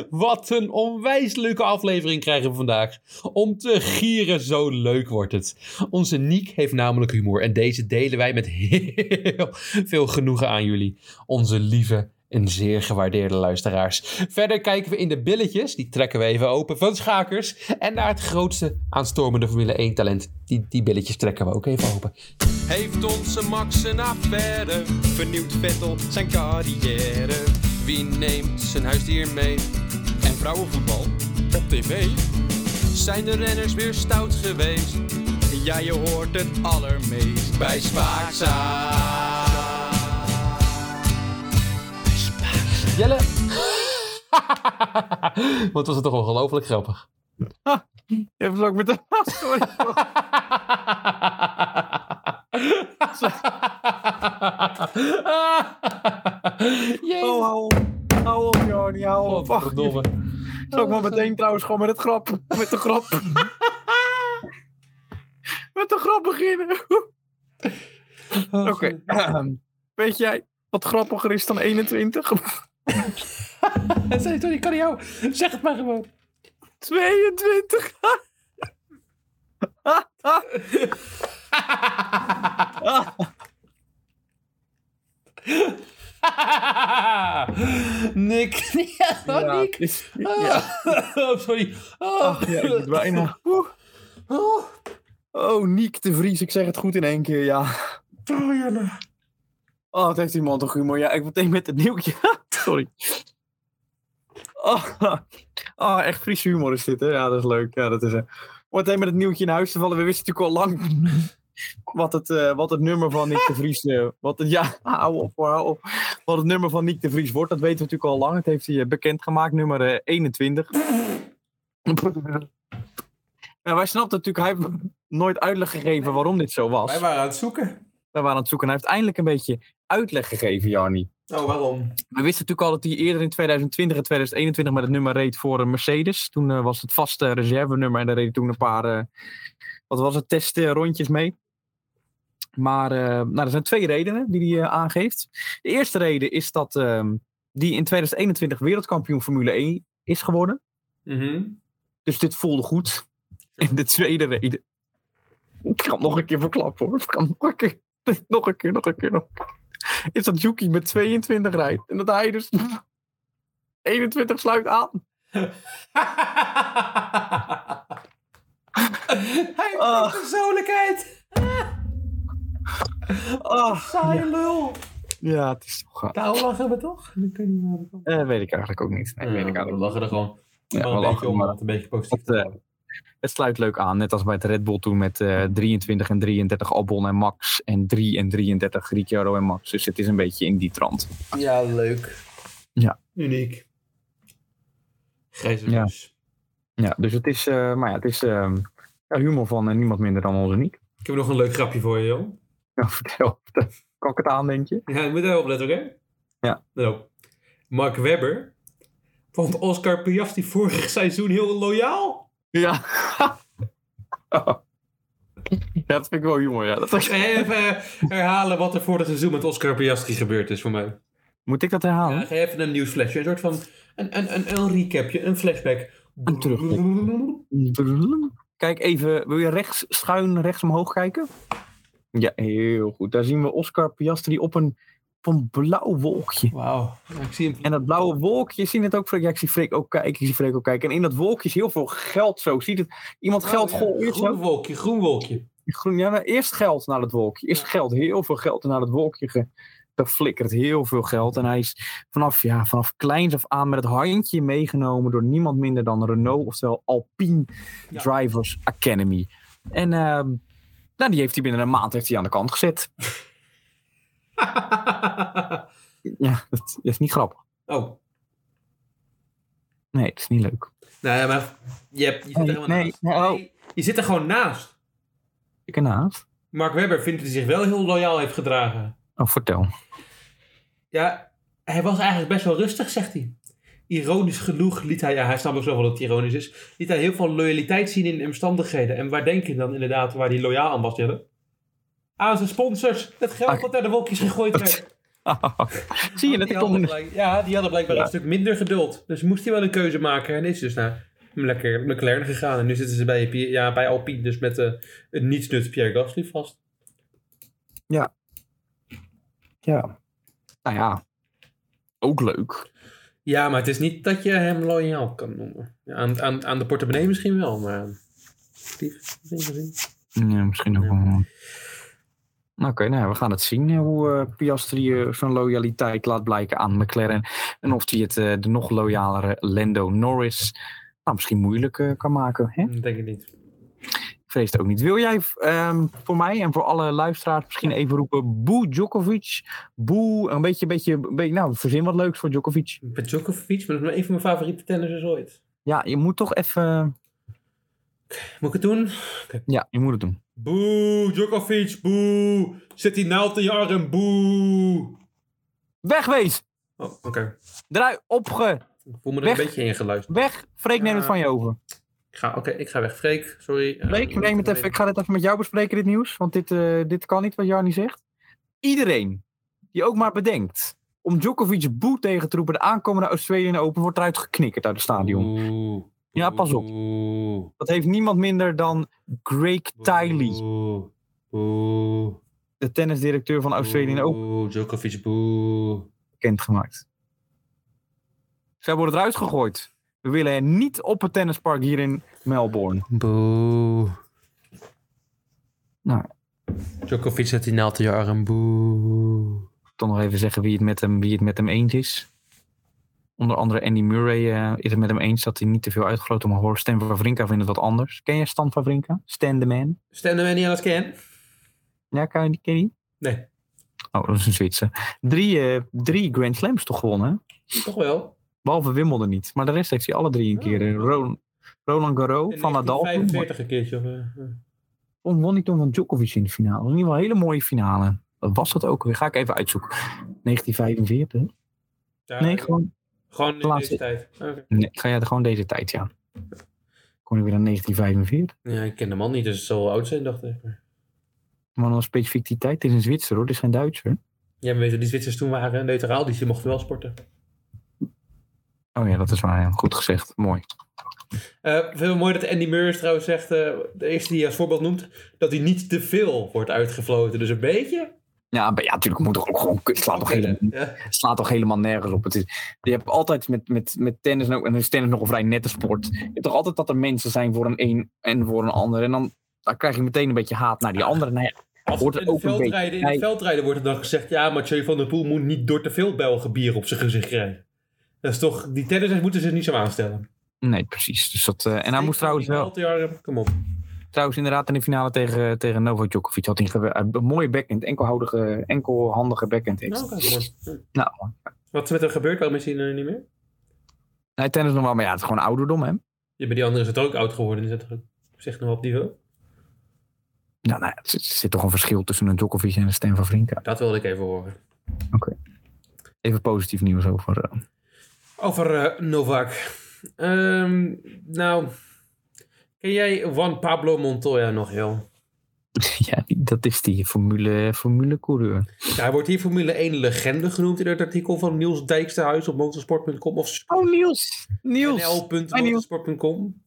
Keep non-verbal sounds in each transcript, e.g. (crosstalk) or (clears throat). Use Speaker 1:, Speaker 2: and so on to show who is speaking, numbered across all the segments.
Speaker 1: (laughs) Wat een onwijs leuke aflevering krijgen we vandaag. Om te gieren, zo leuk wordt het. Onze Niek heeft namelijk humor en deze delen wij met (laughs) heel veel genoegen aan jullie. Onze lieve en zeer gewaardeerde luisteraars. Verder kijken we in de billetjes, die trekken we even open, van Schakers. En naar het grootste aanstormende Formule 1 talent. Die, die billetjes trekken we ook even open.
Speaker 2: Heeft onze Max een affaire? Vernieuwt Vettel zijn carrière? Wie neemt zijn huisdier mee? En vrouwenvoetbal op tv? Zijn de renners weer stout geweest? Ja, je hoort het allermeest bij Spaakzaam.
Speaker 1: (laughs) Jelle! Want was het toch ongelooflijk grappig.
Speaker 3: Ah, Je hebt het ook met de sorry.
Speaker 1: (laughs) Jezus.
Speaker 3: Oh, hou op. Hou op, Joni, hou
Speaker 4: Oh,
Speaker 3: op. Fuck.
Speaker 1: Godverdomme.
Speaker 3: Het is ook maar meteen trouwens gewoon met het grap. Met de grap. (laughs) met de grap beginnen. (laughs)
Speaker 1: Oh,
Speaker 3: Oké.
Speaker 4: Oh,
Speaker 3: ehm, Weet jij wat grappiger is dan (laughs) 21?
Speaker 1: (laughs) Sorry, sorry, ik kan niet jou. Zeg het maar gewoon.
Speaker 3: 22.
Speaker 4: (laughs)
Speaker 1: Nick. Ja,
Speaker 3: Ja,
Speaker 1: Nick.
Speaker 3: het is- ja.
Speaker 1: Ah.
Speaker 4: (laughs)
Speaker 1: Oh, sorry. Oh.
Speaker 3: Ach, ja, ik moet bijna. Oeh.
Speaker 1: Oh,
Speaker 3: Oh, Niek de Vries, ik zeg het goed in één keer, ja.
Speaker 1: oh, Jelle.
Speaker 3: Oh, wat heeft die man toch humor. Ja, ik meteen met het nieuwtje. (laughs) Sorry. Oh, (laughs) oh, echt Friese humor is dit, hè? Ja, dat is leuk. Ja, dat is, eh, Meteen met het nieuwtje in huis te vallen. We wisten natuurlijk al lang (laughs) wat het, eh, wat het nummer van Nick de Vries... eh, wat het, ja, (laughs) hou op, hou op. Wat het nummer van Nick de Vries wordt, dat weten we natuurlijk al lang. Het heeft hij eh, bekendgemaakt, nummer eh, 21. (laughs) Ja, wij snapten natuurlijk... Hij heeft nooit uitleg gegeven waarom dit zo was.
Speaker 4: Wij waren aan het zoeken.
Speaker 3: We waren aan het zoeken. En hij heeft eindelijk een beetje uitleg gegeven, Jarni.
Speaker 4: Oh, waarom?
Speaker 3: We wisten natuurlijk al dat hij eerder in 2020 en 2021 met het nummer reed voor een Mercedes. Toen eh, was het vaste reservenummer en daar reed hij toen een paar, eh, wat was het, testrondjes mee. Maar eh, nou, er zijn twee redenen die hij eh, aangeeft. De eerste reden is dat ehm, die in 2021 wereldkampioen Formule 1 is geworden.
Speaker 4: (laughs)
Speaker 3: Dus dit voelde goed. En de tweede reden. Ik kan hem nog een keer verklappen hoor. Ik kan hem nog een keer. (laughs) Nog een keer, nog een keer. Nog een keer. Is dat Yuki met 22 rijdt. En dat hij dus. (laughs) 21 sluit aan.
Speaker 4: Hij heeft
Speaker 3: Ah.
Speaker 4: een persoonlijkheid.
Speaker 3: Ah,
Speaker 4: Saaie lul.
Speaker 3: ja, het is toch. eh, gaaf.
Speaker 4: Daarom lachen we toch? Ik weet niet waar we komen.
Speaker 3: Eh, weet ik eigenlijk ook niet. Nee, weet ik
Speaker 4: we
Speaker 3: eigenlijk ook
Speaker 4: lachen er gewoon.
Speaker 3: Ja,
Speaker 4: maar
Speaker 3: we
Speaker 4: een
Speaker 3: lachen,
Speaker 4: beetje om
Speaker 3: maar-
Speaker 4: het een beetje positief
Speaker 3: niet.
Speaker 4: te
Speaker 3: Het, eh,
Speaker 4: houden.
Speaker 3: het sluit leuk aan. Net als bij het Red Bull toen met eh, 23 en 33 Albon en Max. En 3 en 33 Ricciardo en Max. Dus het is een beetje in die trant.
Speaker 4: Ja, leuk.
Speaker 3: Ja.
Speaker 4: Uniek. Grijze
Speaker 3: Ja.
Speaker 4: roos.
Speaker 3: Ja, dus het is. eh, maar ja, het is. ehm, ja, humor van eh, niemand minder dan onze Niek.
Speaker 4: Ik heb nog een leuk grapje voor je, joh.
Speaker 3: (laughs) Ja, vertel. Kan ik het aan, denk je?
Speaker 4: Ja, je moet erop letten, oké?
Speaker 3: Ja.
Speaker 4: Nou, Mark Webber vond Oscar Piastri vorig (laughs) seizoen heel loyaal.
Speaker 3: Ja. (laughs) ja, dat vind ik wel humor, ja. Dat
Speaker 4: Even eh, herhalen wat er vorig seizoen met Oscar Piastri gebeurd is voor mij.
Speaker 3: Oh. Moet ik dat herhalen?
Speaker 4: Ja, even een nieuwsflashje. Een soort van een, een, een, een recapje, een flashback.
Speaker 3: Een terugblik. Kijk even, wil je rechts, schuin rechts omhoog kijken? Ja, heel goed. Daar zien we Oscar Piastri op een, op een blauw wolkje.
Speaker 4: Wauw. Ja, ik zie hem.
Speaker 3: En dat blauwe wolkje, zie je het ook? Freek? Ja, ik zie Freek ook kijken. Ik zie Freek ook kijken. En in dat wolkje is heel veel geld zo. Ziet het? Iemand geld
Speaker 4: Oh, ja.
Speaker 3: gooien. zo.
Speaker 4: Groen wolkje, groen wolkje. (laughs)
Speaker 3: Groen, ja, maar eerst geld naar het wolkje. Eerst geld, heel veel geld naar het wolkje ge, geflikkerd. Heel veel geld. En hij is vanaf, ja, vanaf kleins af aan met het handje meegenomen door niemand minder dan Renault, oftewel Alpine
Speaker 4: Ja.
Speaker 3: Drivers Academy. En ehm, nou, die heeft hij binnen een maand heeft hij aan de kant gezet. Ja, dat is niet grappig.
Speaker 4: oh,
Speaker 3: Nee, dat is niet leuk.
Speaker 4: nee, nou maar je, hebt, je zit er
Speaker 3: Nee,
Speaker 4: helemaal
Speaker 3: nee,
Speaker 4: naast.
Speaker 3: nee, oh.
Speaker 4: Nee, je zit er gewoon naast.
Speaker 3: Ik ernaast.
Speaker 4: Mark Webber vindt dat hij zich wel heel loyaal heeft gedragen.
Speaker 3: Oh, vertel. (laughs)
Speaker 4: Ja, hij was eigenlijk best wel rustig, zegt hij. Ironisch genoeg liet hij, ja, hij snapt ook zo wel dat het ironisch is, liet hij heel veel loyaliteit zien in omstandigheden. En waar denk je dan inderdaad waar hij loyaal aan was, Jelle? Aan zijn sponsors, het geld
Speaker 3: Ah.
Speaker 4: dat naar de wolkjes gegooid werd.
Speaker 3: Zie je het?
Speaker 4: Die
Speaker 3: Ik
Speaker 4: hadden
Speaker 3: kon-
Speaker 4: blijk- ja, die hadden blijkbaar
Speaker 3: Ja.
Speaker 4: een stuk minder geduld. Dus moest hij wel een keuze maken. En is dus naar lekker McLaren gegaan. En nu zitten ze bij, Pierre- ja, bij Alpine. Dus met eh een nietsnut Pierre Gasly vast.
Speaker 3: Ja. Nou ja. Ook leuk.
Speaker 4: Ja, maar het is niet dat je hem loyaal kan noemen. Ja, Aan, aan, aan de portemonnee misschien wel, maar... Lief, dat is niet.
Speaker 3: Ja, misschien ook
Speaker 4: Ja.
Speaker 3: wel. Nou, Oké, nou ja, we gaan het zien hè, hoe eh, Piastri eh, zijn loyaliteit laat blijken aan McLaren. En of hij het eh, de nog loyalere Lando Norris nou, misschien moeilijk eh, kan maken. Hè?
Speaker 4: Dat denk ik niet.
Speaker 3: Ik vrees het ook niet. Wil jij ehm, voor mij en voor alle luisteraars misschien even roepen: Boe Djokovic? Boe, een beetje, beetje, beetje, nou, verzin wat leuks voor Djokovic.
Speaker 4: Met Djokovic, maar dat is een van mijn favoriete tennissers ooit.
Speaker 3: Ja, je moet toch even.
Speaker 4: Moet ik het doen?
Speaker 3: Ja, je moet het doen.
Speaker 4: Boe, Djokovic, boe. Zet die naald in je arm, boe.
Speaker 3: Wegwees!
Speaker 4: Oh, oké.
Speaker 3: Draai opge!
Speaker 4: Ik voel me er
Speaker 3: Weg.
Speaker 4: een beetje ingeluisterd.
Speaker 3: Weg! Freek, neem het
Speaker 4: Ja.
Speaker 3: van je over.
Speaker 4: Ik ga, oké, ik ga weg. Freek, sorry. Eh,
Speaker 3: Freek, neem het even. Ik ga dit even met jou bespreken, dit nieuws. Want dit, eh, dit kan niet wat Jarni zegt. Iedereen die ook maar bedenkt om Djokovic boe tegen te roepen de aankomende Australian Open wordt eruit geknikkerd uit het stadion.
Speaker 4: Oeh.
Speaker 3: Ja, pas op.
Speaker 4: Oeh.
Speaker 3: Dat heeft niemand minder dan Greg Tiley,
Speaker 4: Boe. Boe.
Speaker 3: de tennisdirecteur van Australian Open,
Speaker 4: Boe, Djokovic, boe.
Speaker 3: bekendgemaakt. Zij worden eruit gegooid. We willen hen niet op het tennispark hier in Melbourne.
Speaker 4: Boe.
Speaker 3: Nou.
Speaker 4: Djokovic zet die naald in je arm, boe.
Speaker 3: Dan nog even zeggen wie het met hem, wie het met hem eens is. Onder andere Andy Murray eh, is het met hem eens dat hij niet te veel uitgenodigd mag worden. Stan Wawrinka vindt het wat anders. Ken jij Stan Wawrinka? Stan the man?
Speaker 4: Stenden wij niet aan het scan?
Speaker 3: Ja, ken je die? Ken je die?
Speaker 4: Nee,
Speaker 3: Oh, dat is een Zwitser. Drie, eh, drie Grand Slams toch gewonnen, hè?
Speaker 4: toch wel.
Speaker 3: Behalve Wimbledon niet. Maar de rest heeft hij alle drie een keer. eh, Ron- Roland Garros van Nadal. won-
Speaker 4: 45 een keertje. Of, eh, eh.
Speaker 3: Won won hij toen van Djokovic in de finale. In ieder geval een hele mooie finale. Wat was dat ook weer? Ga ik even uitzoeken. 1945?
Speaker 4: Ja,
Speaker 3: Nee, gewoon,
Speaker 4: gewoon in
Speaker 3: laatste-
Speaker 4: deze tijd. Oké.
Speaker 3: nee, ga jij er gewoon deze tijd, ja. Kon ik weer aan 1945.
Speaker 4: Ja, ik ken de man niet, dus het zal wel oud zijn, dacht ik.
Speaker 3: Maar dan specifiek die tijd. Het is een Zwitser hoor, het is geen Duitser.
Speaker 4: Ja, maar weet je, die Zwitsers toen waren neutraal, dus die ze mochten wel sporten.
Speaker 3: Oh ja, dat is waar. ja. Goed gezegd. Mooi.
Speaker 4: Eh, ik vind het mooi dat Andy Murray trouwens zegt, eh, de eerste die je als voorbeeld noemt, dat hij niet te veel wordt uitgefloten. Dus een beetje.
Speaker 3: Ja, maar ja, natuurlijk moet toch ook gewoon. Het slaat, toch helemaal,
Speaker 4: Ja.
Speaker 3: het slaat toch helemaal nergens op. Het is, je hebt altijd met, met, met tennis, en ook- en is tennis nog een vrij nette sport. Je hebt toch altijd dat er mensen zijn voor een een en voor een ander. En dan, dan krijg je meteen een beetje haat naar die andere. Nou ja,
Speaker 4: Als het
Speaker 3: hoort er
Speaker 4: in, de
Speaker 3: ook een beetje
Speaker 4: veldrijden, in de
Speaker 3: bij.
Speaker 4: veldrijden wordt er dan gezegd, ja, Mathieu van der Poel moet niet door te veel Belgen bier op zijn gezicht krijgen. Dat is toch, die tennissers moeten zich niet zo aanstellen.
Speaker 3: Nee, precies. Dus dat, eh, en hij moest trouwens wel.
Speaker 4: Altiarm, Kom op.
Speaker 3: Trouwens, inderdaad, in de finale tegen, tegen Novak Djokovic had hij een, gewe- een mooie backhand. Enkelhoudige, enkelhandige backhand. heeft.
Speaker 4: Nou,
Speaker 3: hij.
Speaker 4: oké, kom maar.
Speaker 3: Nou,
Speaker 4: Wat is met hem gebeurd? Waarom is hij er niet meer?
Speaker 3: hij tennis nog wel, maar ja, het is gewoon ouderdom, hè?
Speaker 4: Ja, bij die andere is het ook oud geworden. Die zit er ook op zich nog wel op niveau.
Speaker 3: Nou, nou, er zit- zit toch een verschil tussen een Djokovic en een Stan van Vrinka.
Speaker 4: Dat wilde ik even horen.
Speaker 3: Even positief nieuws over. eh, (laughs)
Speaker 4: Over eh, Novak. Ehm, nou, ken jij Juan Pablo Montoya nog, joh?
Speaker 3: ja, die- dat is die formule, formule coureur.
Speaker 4: Ja, hij wordt hier Formule 1 legende genoemd in het artikel van Niels Dijksterhuis op motorsport.com of
Speaker 3: Oh, Niels! Niels!
Speaker 4: nl.motorsport.com.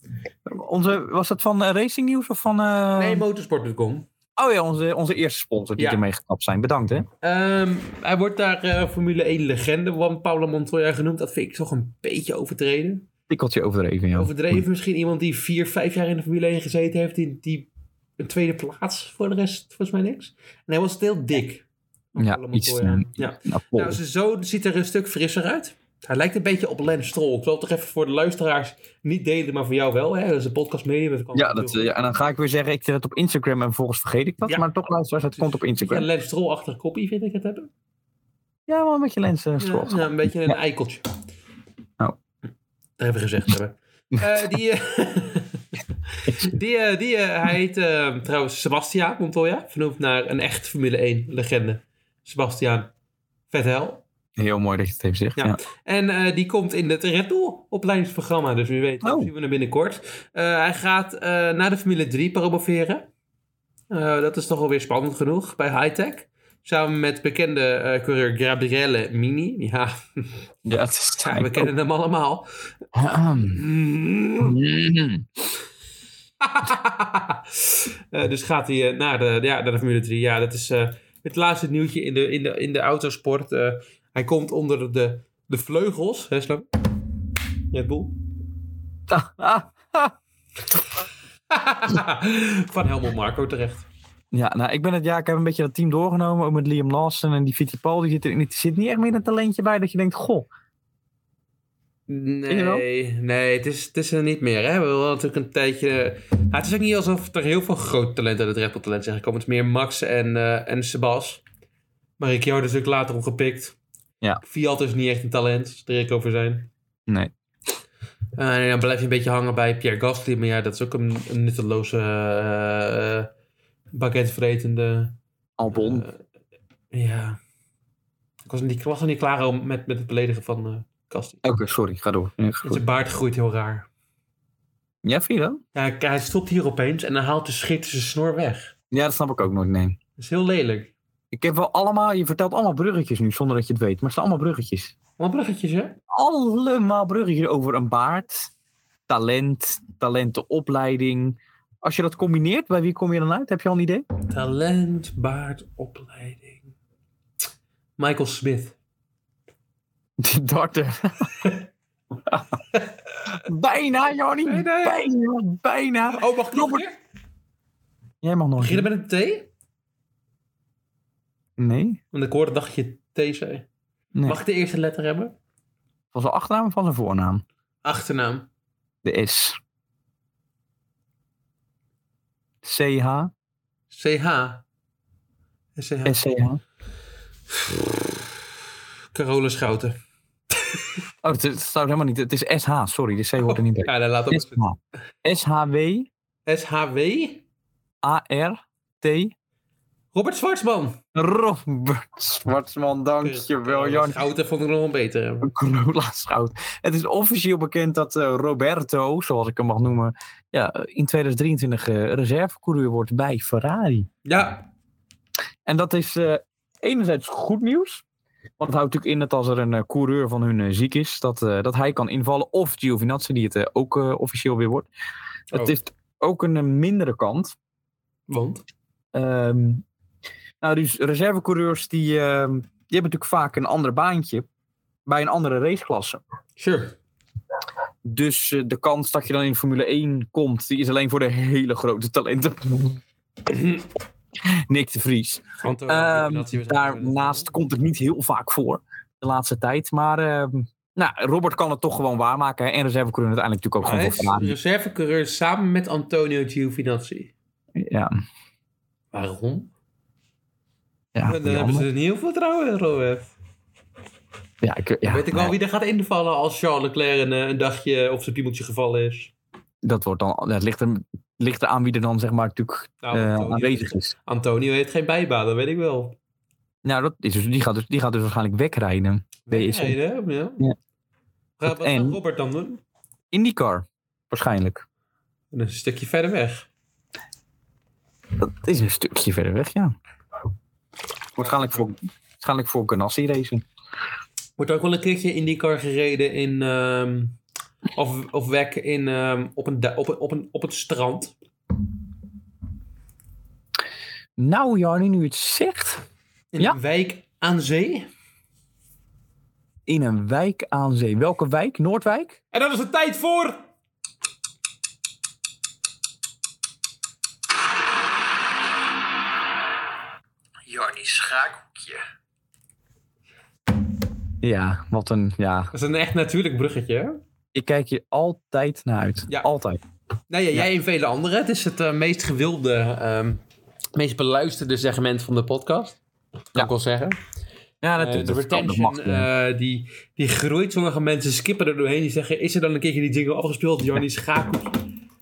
Speaker 3: Onze, was dat van eh, Racing Nieuws of van. eh,
Speaker 4: Nee, motorsport.com.
Speaker 3: oh ja, onze, onze eerste sponsor die
Speaker 4: Ja.
Speaker 3: ermee gekapt zijn. Bedankt, hè?
Speaker 4: Ehm, hij wordt daar eh, Formule 1 legende, Juan Pablo Montoya genoemd. Dat vind ik toch een beetje overtreden.
Speaker 3: Tikkeltje overdreven, ja.
Speaker 4: Overdreven misschien iemand die vier, vijf jaar in de Formule 1 gezeten heeft. Die, die een tweede plaats voor de rest, volgens mij niks. En hij was heel dik.
Speaker 3: Ja, iets.
Speaker 4: ja.
Speaker 3: eh, nou, vol.
Speaker 4: Nou, zijn zoon ziet er een stuk frisser uit. Hij lijkt een beetje op Lance Stroll. Ik zal het toch even voor de luisteraars niet delen, maar voor jou wel. Hè? Dat is een podcastmedium. dat kan
Speaker 3: Ja,
Speaker 4: natuurlijk.
Speaker 3: dat, eh, ja, en dan ga ik weer zeggen, ik zet het op Instagram en vervolgens vergeet ik dat.
Speaker 4: Ja.
Speaker 3: Maar toch, luisteraars, het komt op
Speaker 4: Ja,
Speaker 3: Instagram. Ja,
Speaker 4: Lance Stroll achter kopie vind ik het hebben.
Speaker 3: wel een beetje lens eh,
Speaker 4: Ja,
Speaker 3: scrollt.
Speaker 4: ja, een beetje een eikeltje.
Speaker 3: Oh.
Speaker 4: Dat hebben we gezegd
Speaker 3: (laughs)
Speaker 4: hebben. Eh, (laughs) die, eh, die, eh, die eh, hij heet eh, trouwens Sebastiaan Montoya. Vernoemd naar een echt Formule 1 legende. Sebastiaan Vettel.
Speaker 3: Heel mooi dat je het even zegt.
Speaker 4: Ja.
Speaker 3: Ja.
Speaker 4: En eh, die komt in het Red Bull opleidingsprogramma. Dus wie weet, dat
Speaker 3: Oh.
Speaker 4: zien we hem binnenkort. Eh, hij gaat eh, naar de Formule 3 promoveren. Eh, dat is toch alweer spannend genoeg bij Hightech. Samen met bekende eh coureur Gabriele Mini. Ja,
Speaker 3: Ja, het is
Speaker 4: ja, we kennen hem allemaal. Eh, dus gaat hij eh, naar, de, ja, naar de Formule 3. Ja, dat is eh, het laatste nieuwtje in de, in de, in de autosport. Eh, hij komt onder de, de vleugels. Hè, Slam? Red Bull. (laughs) Van Helmut Marco terecht.
Speaker 3: (laughs) Ja, nou, ik ben het jaar, ik heb een beetje dat team doorgenomen. Ook met Liam Lawson en die Fittipaldi zit erin. Er zit niet echt meer een talentje bij dat je denkt, goh. je wel?
Speaker 4: Nee, nee het, is, het is er niet meer. Hè? We hebben wel natuurlijk een tijdje... eh, nou, het is ook niet alsof er heel veel groot talent uit het Red Bull talent zijn gekomen. Het is meer Max en, eh, en Sebas. Maar Ricciardo is natuurlijk later opgepikt.
Speaker 3: Ja.
Speaker 4: Fiat is niet echt een talent, als er ik over zijn.
Speaker 3: Nee.
Speaker 4: Eh, en dan blijf je een beetje hangen bij Pierre Gasly. Maar ja, dat is ook een, een nutteloze, eh, eh, baguettevretende...
Speaker 3: Albon.
Speaker 4: eh, ja. Ik was, niet, ik was nog niet klaar om- met, met het beledigen van eh Gasly.
Speaker 3: Oké, sorry, ga door. Ja,
Speaker 4: En Zijn baard groeit heel raar.
Speaker 3: ja, vind je dat?
Speaker 4: Ja, hij- hij stopt hier opeens en dan haalt de schit zijn snor weg.
Speaker 3: Ja, dat snap ik ook nooit, nee.
Speaker 4: Dat is heel lelijk.
Speaker 3: Ik heb wel allemaal, je vertelt allemaal bruggetjes nu, zonder dat je het weet. Maar het zijn allemaal bruggetjes.
Speaker 4: Wat bruggetjes, hè?
Speaker 3: Allemaal bruggetjes over een baard, talent, talentenopleiding. Als je dat combineert, bij wie kom je dan uit? Heb je al een idee? (laughs)
Speaker 4: Talent, baard, opleiding. Michael Smith.
Speaker 3: Die darter. bijna, Johnny.
Speaker 4: Bijna, ja.
Speaker 3: Bijna, bijna.
Speaker 4: Oh, mag ik nog
Speaker 3: Robert- Jij mag nog
Speaker 4: Beginnen
Speaker 3: een
Speaker 4: met een T?
Speaker 3: Nee.
Speaker 4: Want ik hoorde dacht je T zei.
Speaker 3: nee.
Speaker 4: Mag ik de eerste letter hebben?
Speaker 3: Van zijn achternaam of van zijn voornaam?
Speaker 4: Achternaam.
Speaker 3: De S. CH.
Speaker 4: CH. SCH.
Speaker 3: SCH.
Speaker 4: Carola Schouten.
Speaker 3: Oh, het, is- het staat helemaal niet. Het is SH, sorry. De C hoort er niet bij.
Speaker 4: Ja, daar laat op.
Speaker 3: SH. SHW.
Speaker 4: SHW.
Speaker 3: AR. T.
Speaker 4: Robert Zwartsman.
Speaker 3: Robert Zwartsman, dankjewel,
Speaker 4: Carola
Speaker 3: Jan.
Speaker 4: Schouten vond ik nog een betere.
Speaker 3: Corona Schout. Het is officieel bekend dat eh, Roberto, zoals ik hem mag noemen, ja, in 2023 eh, reservecoureur wordt bij Ferrari.
Speaker 4: Ja.
Speaker 3: En dat is eh, enerzijds goed nieuws. Want het houdt natuurlijk in dat als er een eh, coureur van hun eh, ziek is, dat, eh, dat hij kan invallen. Of Giovinazzi, die het eh, ook eh, officieel weer wordt.
Speaker 4: Oh.
Speaker 3: Het heeft ook een eh, mindere kant.
Speaker 4: Want?
Speaker 3: Ehm, nou, dus reservecoureurs die, ehm, die hebben natuurlijk vaak een ander baantje bij een andere raceklasse.
Speaker 4: Sure.
Speaker 3: Dus eh, de kans dat je dan in Formule 1 komt, die is alleen voor de hele grote talenten. (laughs) Nick de Vries.
Speaker 4: Want eh,
Speaker 3: Ehm,
Speaker 4: combinatie was-
Speaker 3: daarnaast komt het niet heel vaak voor de laatste tijd. Maar ehm, nou, Robert kan het toch gewoon waarmaken. hè. En reservecoureur uiteindelijk natuurlijk ook
Speaker 4: Hij is
Speaker 3: gewoon voor Ferrari.
Speaker 4: reservecoureur samen met Antonio Giovinazzi. eh,
Speaker 3: Ja,
Speaker 4: Waarom?
Speaker 3: ja,
Speaker 4: dan
Speaker 3: die
Speaker 4: eh, hebben ze
Speaker 3: andere.
Speaker 4: er niet heel veel vertrouwen in, Robert.
Speaker 3: ja, ik, ja,
Speaker 4: Weet ik wel
Speaker 3: nee,
Speaker 4: wie er gaat invallen als Charles Leclerc een, eh, een dagje op zijn piemeltje gevallen is?
Speaker 3: dat wordt dan, dat ligt, er, ligt eraan wie er dan zeg maar natuurlijk
Speaker 4: Nou,
Speaker 3: eh,
Speaker 4: Antonio-
Speaker 3: aanwezig is.
Speaker 4: Antonio heeft geen bijbaan, dat weet ik wel.
Speaker 3: Nou, dat is dus, die, gaat dus, die gaat dus waarschijnlijk wegrijden. DSM.
Speaker 4: Nee, hè? Ja.
Speaker 3: Ja.
Speaker 4: Gaat, wat gaat
Speaker 3: en-
Speaker 4: Robert dan doen?
Speaker 3: IndyCar, waarschijnlijk.
Speaker 4: Dat is Een stukje verder weg.
Speaker 3: Dat is een stukje verder weg, ja. Waarschijnlijk voor, waarschijnlijk voor Ganassi racen.
Speaker 4: Wordt ook wel een keertje in die car gereden in... ehm, of, of weg in, ehm, op, een, da- op, een- op, een, op het strand.
Speaker 3: Nou, Jarni, nu je het zegt.
Speaker 4: In
Speaker 3: Ja.
Speaker 4: een wijk aan zee.
Speaker 3: In een wijk aan zee. Welke wijk? Noordwijk?
Speaker 4: En dan is het tijd voor... Jarni's schaakhoekje.
Speaker 3: Ja, wat een. Ja.
Speaker 4: Dat is een echt natuurlijk bruggetje, hè?
Speaker 3: Ik kijk hier altijd naar uit.
Speaker 4: Ja.
Speaker 3: Altijd.
Speaker 4: Nou ja, jij en vele anderen. Het is het eh, meest gewilde, ehm, meest beluisterde segment van de podcast. Kan
Speaker 3: Ja.
Speaker 4: ik wel zeggen.
Speaker 3: Ja,
Speaker 4: Eh, de
Speaker 3: kan, dat
Speaker 4: retention,
Speaker 3: mag.
Speaker 4: eh, die, die groeit. Sommige mensen skippen er doorheen. Die zeggen, is er dan een keertje die jingle afgespeeld? Johnny
Speaker 3: (laughs)
Speaker 4: Schakel.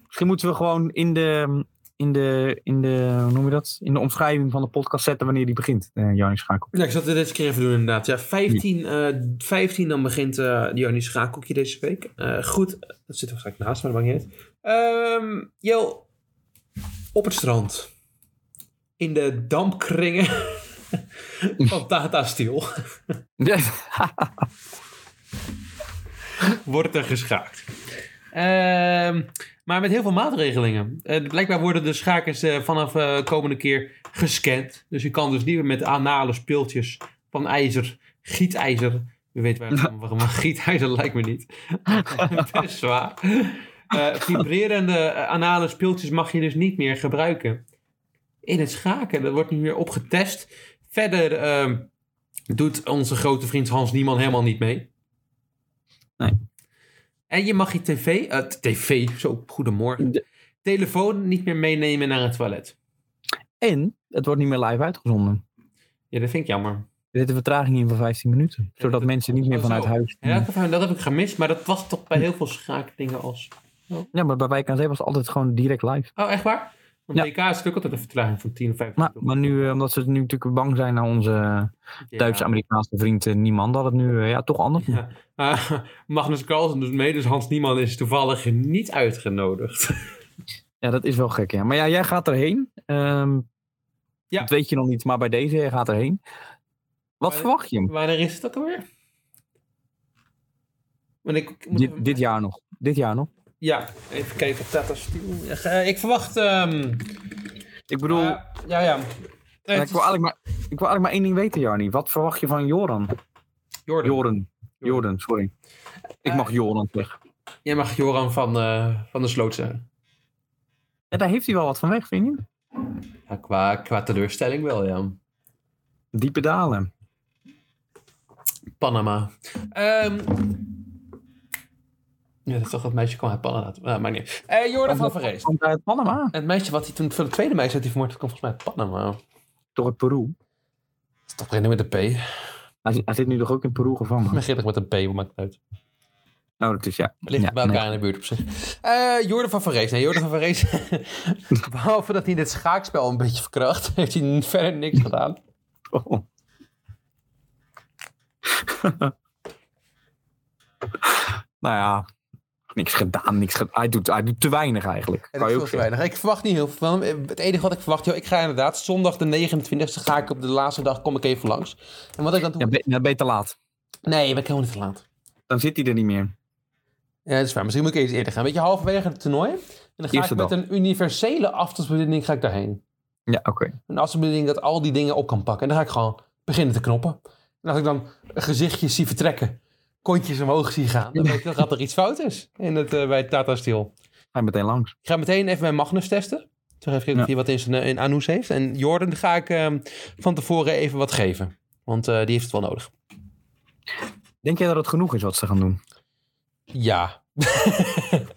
Speaker 3: Misschien moeten we gewoon in de. In de, in de, hoe noem je dat? In de omschrijving van de podcast zetten wanneer die begint, eh Jarni (laughs) Schakel.
Speaker 4: Ja, ik zat het deze keer even doen inderdaad. Ja, 15, eh, 15 dan begint eh Johnny Schakelkje deze week. Eh, goed, dat zit er waarschijnlijk naast, maar dat maakt niet uit. Ehm, Jo, op het strand. In de dampkringen Van Tata Steel wordt er geschaakt. Ehm, maar met heel veel maatregelingen. Eh, blijkbaar worden de schakers eh, vanaf de komende keer gescand. Dus je kan dus niet meer met anale speeltjes van ijzer, gietijzer. Je weet waar het allemaal van, maar gietijzer lijkt me niet. (laughs) Het is zwaar. Eh, vibrerende eh, anale speeltjes mag je dus niet meer gebruiken. In het schaken, dat wordt nu weer opgetest. Verder ehm, doet onze grote vriend Hans Nieman helemaal niet mee. En je mag je tv, eh, tv, zo, goedemorgen.
Speaker 3: De-
Speaker 4: Telefoon niet meer meenemen naar het toilet.
Speaker 3: En het wordt niet meer live uitgezonden.
Speaker 4: Ja, dat vind ik jammer.
Speaker 3: Er zit een vertraging in van 15 minuten. Zodat mensen niet meer
Speaker 4: Oh,
Speaker 3: vanuit
Speaker 4: zo.
Speaker 3: huis.
Speaker 4: Ja, dat, heb- dat heb ik gemist, maar dat was toch bij heel veel schaakdingen als...
Speaker 3: Ja, maar bij Wijk aan Zee was het altijd gewoon direct live.
Speaker 4: Oh, echt waar? Want
Speaker 3: Ja.
Speaker 4: BK is natuurlijk altijd een vertraging van 10 of 15
Speaker 3: Maar, maar nu, eh, omdat ze nu natuurlijk bang zijn naar onze
Speaker 4: Ja.
Speaker 3: Duitse-Amerikaanse vriend eh, Niemand, dat het nu eh, ja, toch anders moet.
Speaker 4: Ja. Eh, (laughs) Magnus Carlsen doet mee, dus Hans Niemann is toevallig niet uitgenodigd. (laughs)
Speaker 3: Ja, dat is wel gek, ja. Maar ja, jij gaat erheen. Ehm,
Speaker 4: Ja.
Speaker 3: Dat weet je nog niet, maar bij deze, jij gaat erheen. Wat
Speaker 4: Maar-
Speaker 3: verwacht je?
Speaker 4: Wanneer is het ook alweer? Want ik, ik moet even-
Speaker 3: Dit, dit jaar nog. Dit jaar nog.
Speaker 4: Ja, even kijken op Tata Steel. Ja, eh, ik verwacht... ehm,
Speaker 3: Ik bedoel,
Speaker 4: Ja, ja, ja.
Speaker 3: ja, ik, wil eigenlijk maar, ik wil eigenlijk maar één ding weten, Jarni. Wat verwacht je van Joran?
Speaker 4: Jordan.
Speaker 3: Joran. Joran, sorry. Ik
Speaker 4: Eh,
Speaker 3: mag Joran terug.
Speaker 4: Jij mag Joran van, eh, van de Sloot zeggen.
Speaker 3: Ja, daar heeft hij wel wat van weg, vind je?
Speaker 4: Ja, qua, qua teleurstelling wel, ja.
Speaker 3: Diepe dalen.
Speaker 4: Panama. Ehm, ja, dat is toch dat meisje kwam uit Panama. Maar maakt niet. uit. Eh, Jordan van Verrees.
Speaker 3: Komt uit Panama.
Speaker 4: Het meisje wat hij toen, voor de tweede meisje dat hij vermoord had, kwam volgens mij uit Panama. Dat
Speaker 3: Toch uit Peru.
Speaker 4: is toch beginnen met een P.
Speaker 3: Hij, zit- hij zit nu toch ook in Peru gevangen?
Speaker 4: Begin toch met een P, maar maakt het uit.
Speaker 3: Nou, dat is ja.
Speaker 4: Het ligt
Speaker 3: ja,
Speaker 4: bij
Speaker 3: nee.
Speaker 4: elkaar in de buurt op zich. Eh Jordan van Verrees. Nee, Jordan van Verrees. (laughs) Behalve dat hij dit schaakspel een beetje verkracht, heeft hij verder niks gedaan.
Speaker 3: Oh. (laughs) nou ja, niks gedaan, niks gedaan. Hij doet, hij doet te weinig eigenlijk.
Speaker 4: Het
Speaker 3: Kan je
Speaker 4: is
Speaker 3: ook
Speaker 4: veel te
Speaker 3: zeggen.
Speaker 4: weinig. Ik verwacht niet heel veel van hem. Het enige wat ik verwacht, joh, ik ga inderdaad zondag de 29e ga ik op de laatste dag kom ik even langs. En wat ik dan doe.
Speaker 3: Ja, be- ja, beter laat.
Speaker 4: Nee, ben ik helemaal niet te laat.
Speaker 3: Dan zit hij er niet meer.
Speaker 4: Ja, dat is waar. Misschien moet ik eens eerder gaan. Weet je, halverwege het toernooi. En dan ga
Speaker 3: Eerste
Speaker 4: ik met
Speaker 3: dag.
Speaker 4: een universele afstandsbediening ga ik daarheen.
Speaker 3: Ja, oké.
Speaker 4: Een afstandsbediening dat al die dingen op kan pakken. En dan ga ik gewoon beginnen te knoppen. En als ik dan gezichtjes zie vertrekken, kontjes omhoog zie gaan, dan weet ik dat gaat er iets fout is. In het, eh, bij Tata Steel.
Speaker 3: Ga je meteen langs.
Speaker 4: Ik ga meteen even mijn Magnus testen. Toch even kijken of
Speaker 3: Ja.
Speaker 4: hij wat in zijn eh, in Anus heeft. En Jordan ga ik ehm, van tevoren even wat geven. Want eh, die heeft het wel nodig.
Speaker 3: Denk jij dat het genoeg is wat ze gaan doen?
Speaker 4: Ja.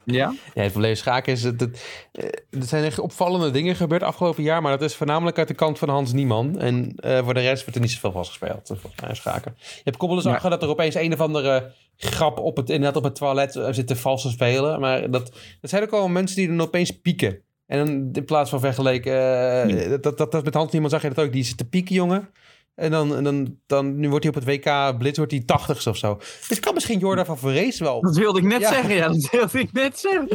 Speaker 3: Ja?
Speaker 4: ja het probleem schaken is... Dat, dat, eh, er zijn echt opvallende dingen gebeurd afgelopen jaar. Maar dat is voornamelijk uit de kant van Hans Nieman. En eh, voor de rest wordt er niet zoveel vastgespeeld. eh, Volgens mij schaken. Je hebt koppelens
Speaker 3: Ja.
Speaker 4: achter dat er opeens een of andere grap op het, inderdaad op het toilet eh, zit te vals te spelen. Maar dat, dat zijn ook al mensen die dan opeens pieken. En dan in plaats van vergeleken, eh, dat, dat, dat, met Hans Niemann zag je dat ook. Die zit te pieken, jongen. En dan, en dan, dan nu wordt hij op het WK Blitz, wordt hij tachtigste of zo. Dus kan misschien Jordan van Verrees wel.
Speaker 3: Dat wilde ik net
Speaker 4: Ja.
Speaker 3: zeggen, ja. Dat wilde ik net zeggen.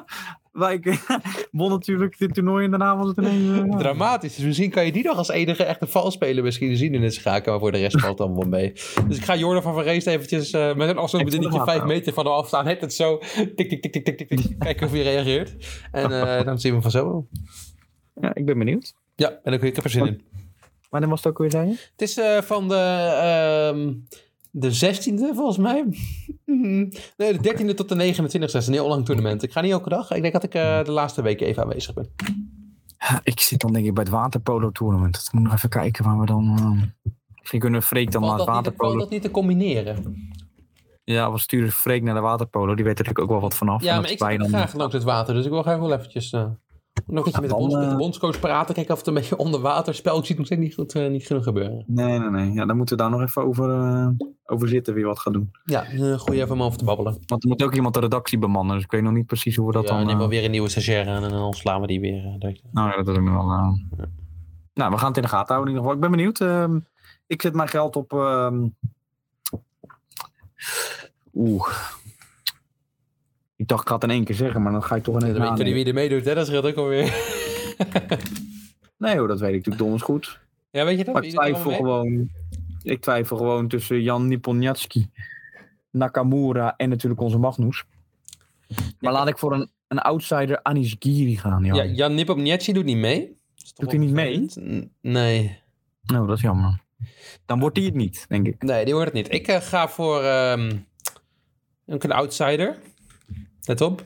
Speaker 3: (laughs) Wijk (laughs) won natuurlijk dit toernooi en daarna was het ineens... eh,
Speaker 4: Dramatisch. Dus misschien kan je die nog als enige echte valspeler misschien zien in het schaken. Maar voor de rest valt het allemaal wel mee. Dus ik ga Jordan van Verrees eventjes eh, met een afstandsbedienetje
Speaker 3: Extra
Speaker 4: vijf
Speaker 3: gaten.
Speaker 4: meter van hem afstaan. Het het zo. Tik, tik, tik, tik, tik, tik, tik. Kijken of hij reageert. En eh, dan zien we vanzelf wel.
Speaker 3: Ja, ik ben benieuwd.
Speaker 4: Ja, en ik, ik heb er zin in.
Speaker 3: Maar dan was het ook weer zijn?
Speaker 4: Het is eh, van de, ehm, de 16e volgens mij. (laughs) nee, de 13e tot de 29e. Dat is een heel lang toernooi. Ik ga niet elke dag. Ik denk dat ik eh, de laatste weken even aanwezig ben.
Speaker 3: Ja, Ik zit dan denk ik bij het waterpolo tournament. Dat moet ik nog even kijken waar we dan. eh, Misschien kunnen we Freek dan naar
Speaker 4: Valt
Speaker 3: het
Speaker 4: dat, niet, valt
Speaker 3: waterpolo.
Speaker 4: dat niet te combineren?
Speaker 3: Ja, we sturen Freek naar de waterpolo. Die weet er natuurlijk ook wel wat vanaf.
Speaker 4: Ja,
Speaker 3: En
Speaker 4: maar
Speaker 3: dat
Speaker 4: ik
Speaker 3: wij
Speaker 4: zit
Speaker 3: dan-
Speaker 4: graag langs het water. Dus ik wil graag wel eventjes... eh, nog een keer
Speaker 3: Ja,
Speaker 4: met de,
Speaker 3: dan,
Speaker 4: bonds- met de
Speaker 3: eh,
Speaker 4: bondscoach praten. Kijken of het een beetje (laughs) onder water spel. Ik zie het nog steeds niet, goed, eh, niet genoeg gebeuren.
Speaker 3: Nee, nee, nee. Ja, dan moeten we daar nog even over, eh, over zitten wie wat gaat doen.
Speaker 4: Ja, een goeie even om over te babbelen.
Speaker 3: Want er moet ook iemand de redactie bemannen. Dus ik weet nog niet precies hoe we dat
Speaker 4: ja,
Speaker 3: dan.
Speaker 4: neem wel
Speaker 3: eh,
Speaker 4: weer een nieuwe stagiair aan. En dan slaan we die weer. eh, direct.
Speaker 3: Nou ja, dat doen we wel. eh. Nou, we gaan het in de gaten houden in ieder geval. Ik ben benieuwd. ehm, ik zet mijn geld op. ehm, Oeh. Ik dacht, ik ga het in één keer zeggen, maar dan ga ik toch in
Speaker 4: dan
Speaker 3: één
Speaker 4: weten jullie
Speaker 3: keer.
Speaker 4: wie er meedoet. Hè? Dat scheelt ook alweer.
Speaker 3: Nee hoor, dat weet ik natuurlijk donders goed.
Speaker 4: (laughs) Ja, weet je dat?
Speaker 3: Maar ik
Speaker 4: Wie doet er
Speaker 3: twijfel
Speaker 4: allemaal mee?
Speaker 3: gewoon. Ik twijfel gewoon tussen Jan Nipponjatski, Nakamura en natuurlijk onze Magnus. Maar laat ik voor een, een outsider Anis Giri gaan. Ja.
Speaker 4: Ja, Jan Nipomniachtchi doet niet mee. Is toch
Speaker 3: Doet hij niet
Speaker 4: wel
Speaker 3: mee?
Speaker 4: vervelend? N- Nee.
Speaker 3: Nou, dat is jammer. Dan wordt hij het niet, denk ik.
Speaker 4: Nee, die hoort het niet. Ik eh, ga voor ehm, ook een outsider. Let op.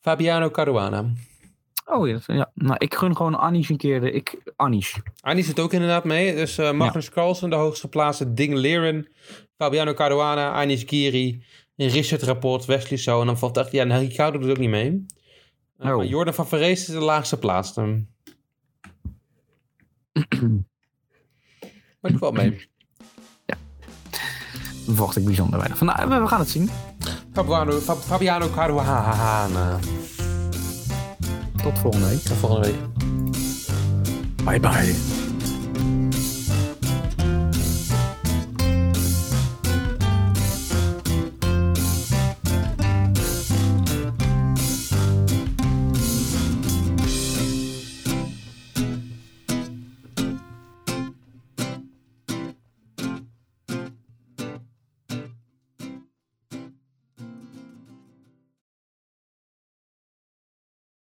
Speaker 4: Fabiano Caruana.
Speaker 3: Oh ja, dat- ja. Nou, ik gun gewoon Anis een keer. De, ik, Anis.
Speaker 4: Arnie zit ook inderdaad mee. Dus eh, Magnus Carlsen, de hoogst geplaatste. Ding Leren, Fabiano Caruana, Anis Giri, Richard Rapport, Wesley So. En dan valt echt... Ja, en Ricardo doet ook niet mee. Eh,
Speaker 3: Oh.
Speaker 4: maar Jordan van Verrees is de laagste plaatste.
Speaker 3: (clears throat)
Speaker 4: maar die valt mee.
Speaker 3: Daar verwacht ik bijzonder weinig. Van, nou, we- we gaan het zien.
Speaker 4: Fabiano, Fab- Fabiano Caruana.
Speaker 3: Tot volgende week.
Speaker 4: Tot volgende week.
Speaker 3: Bye bye.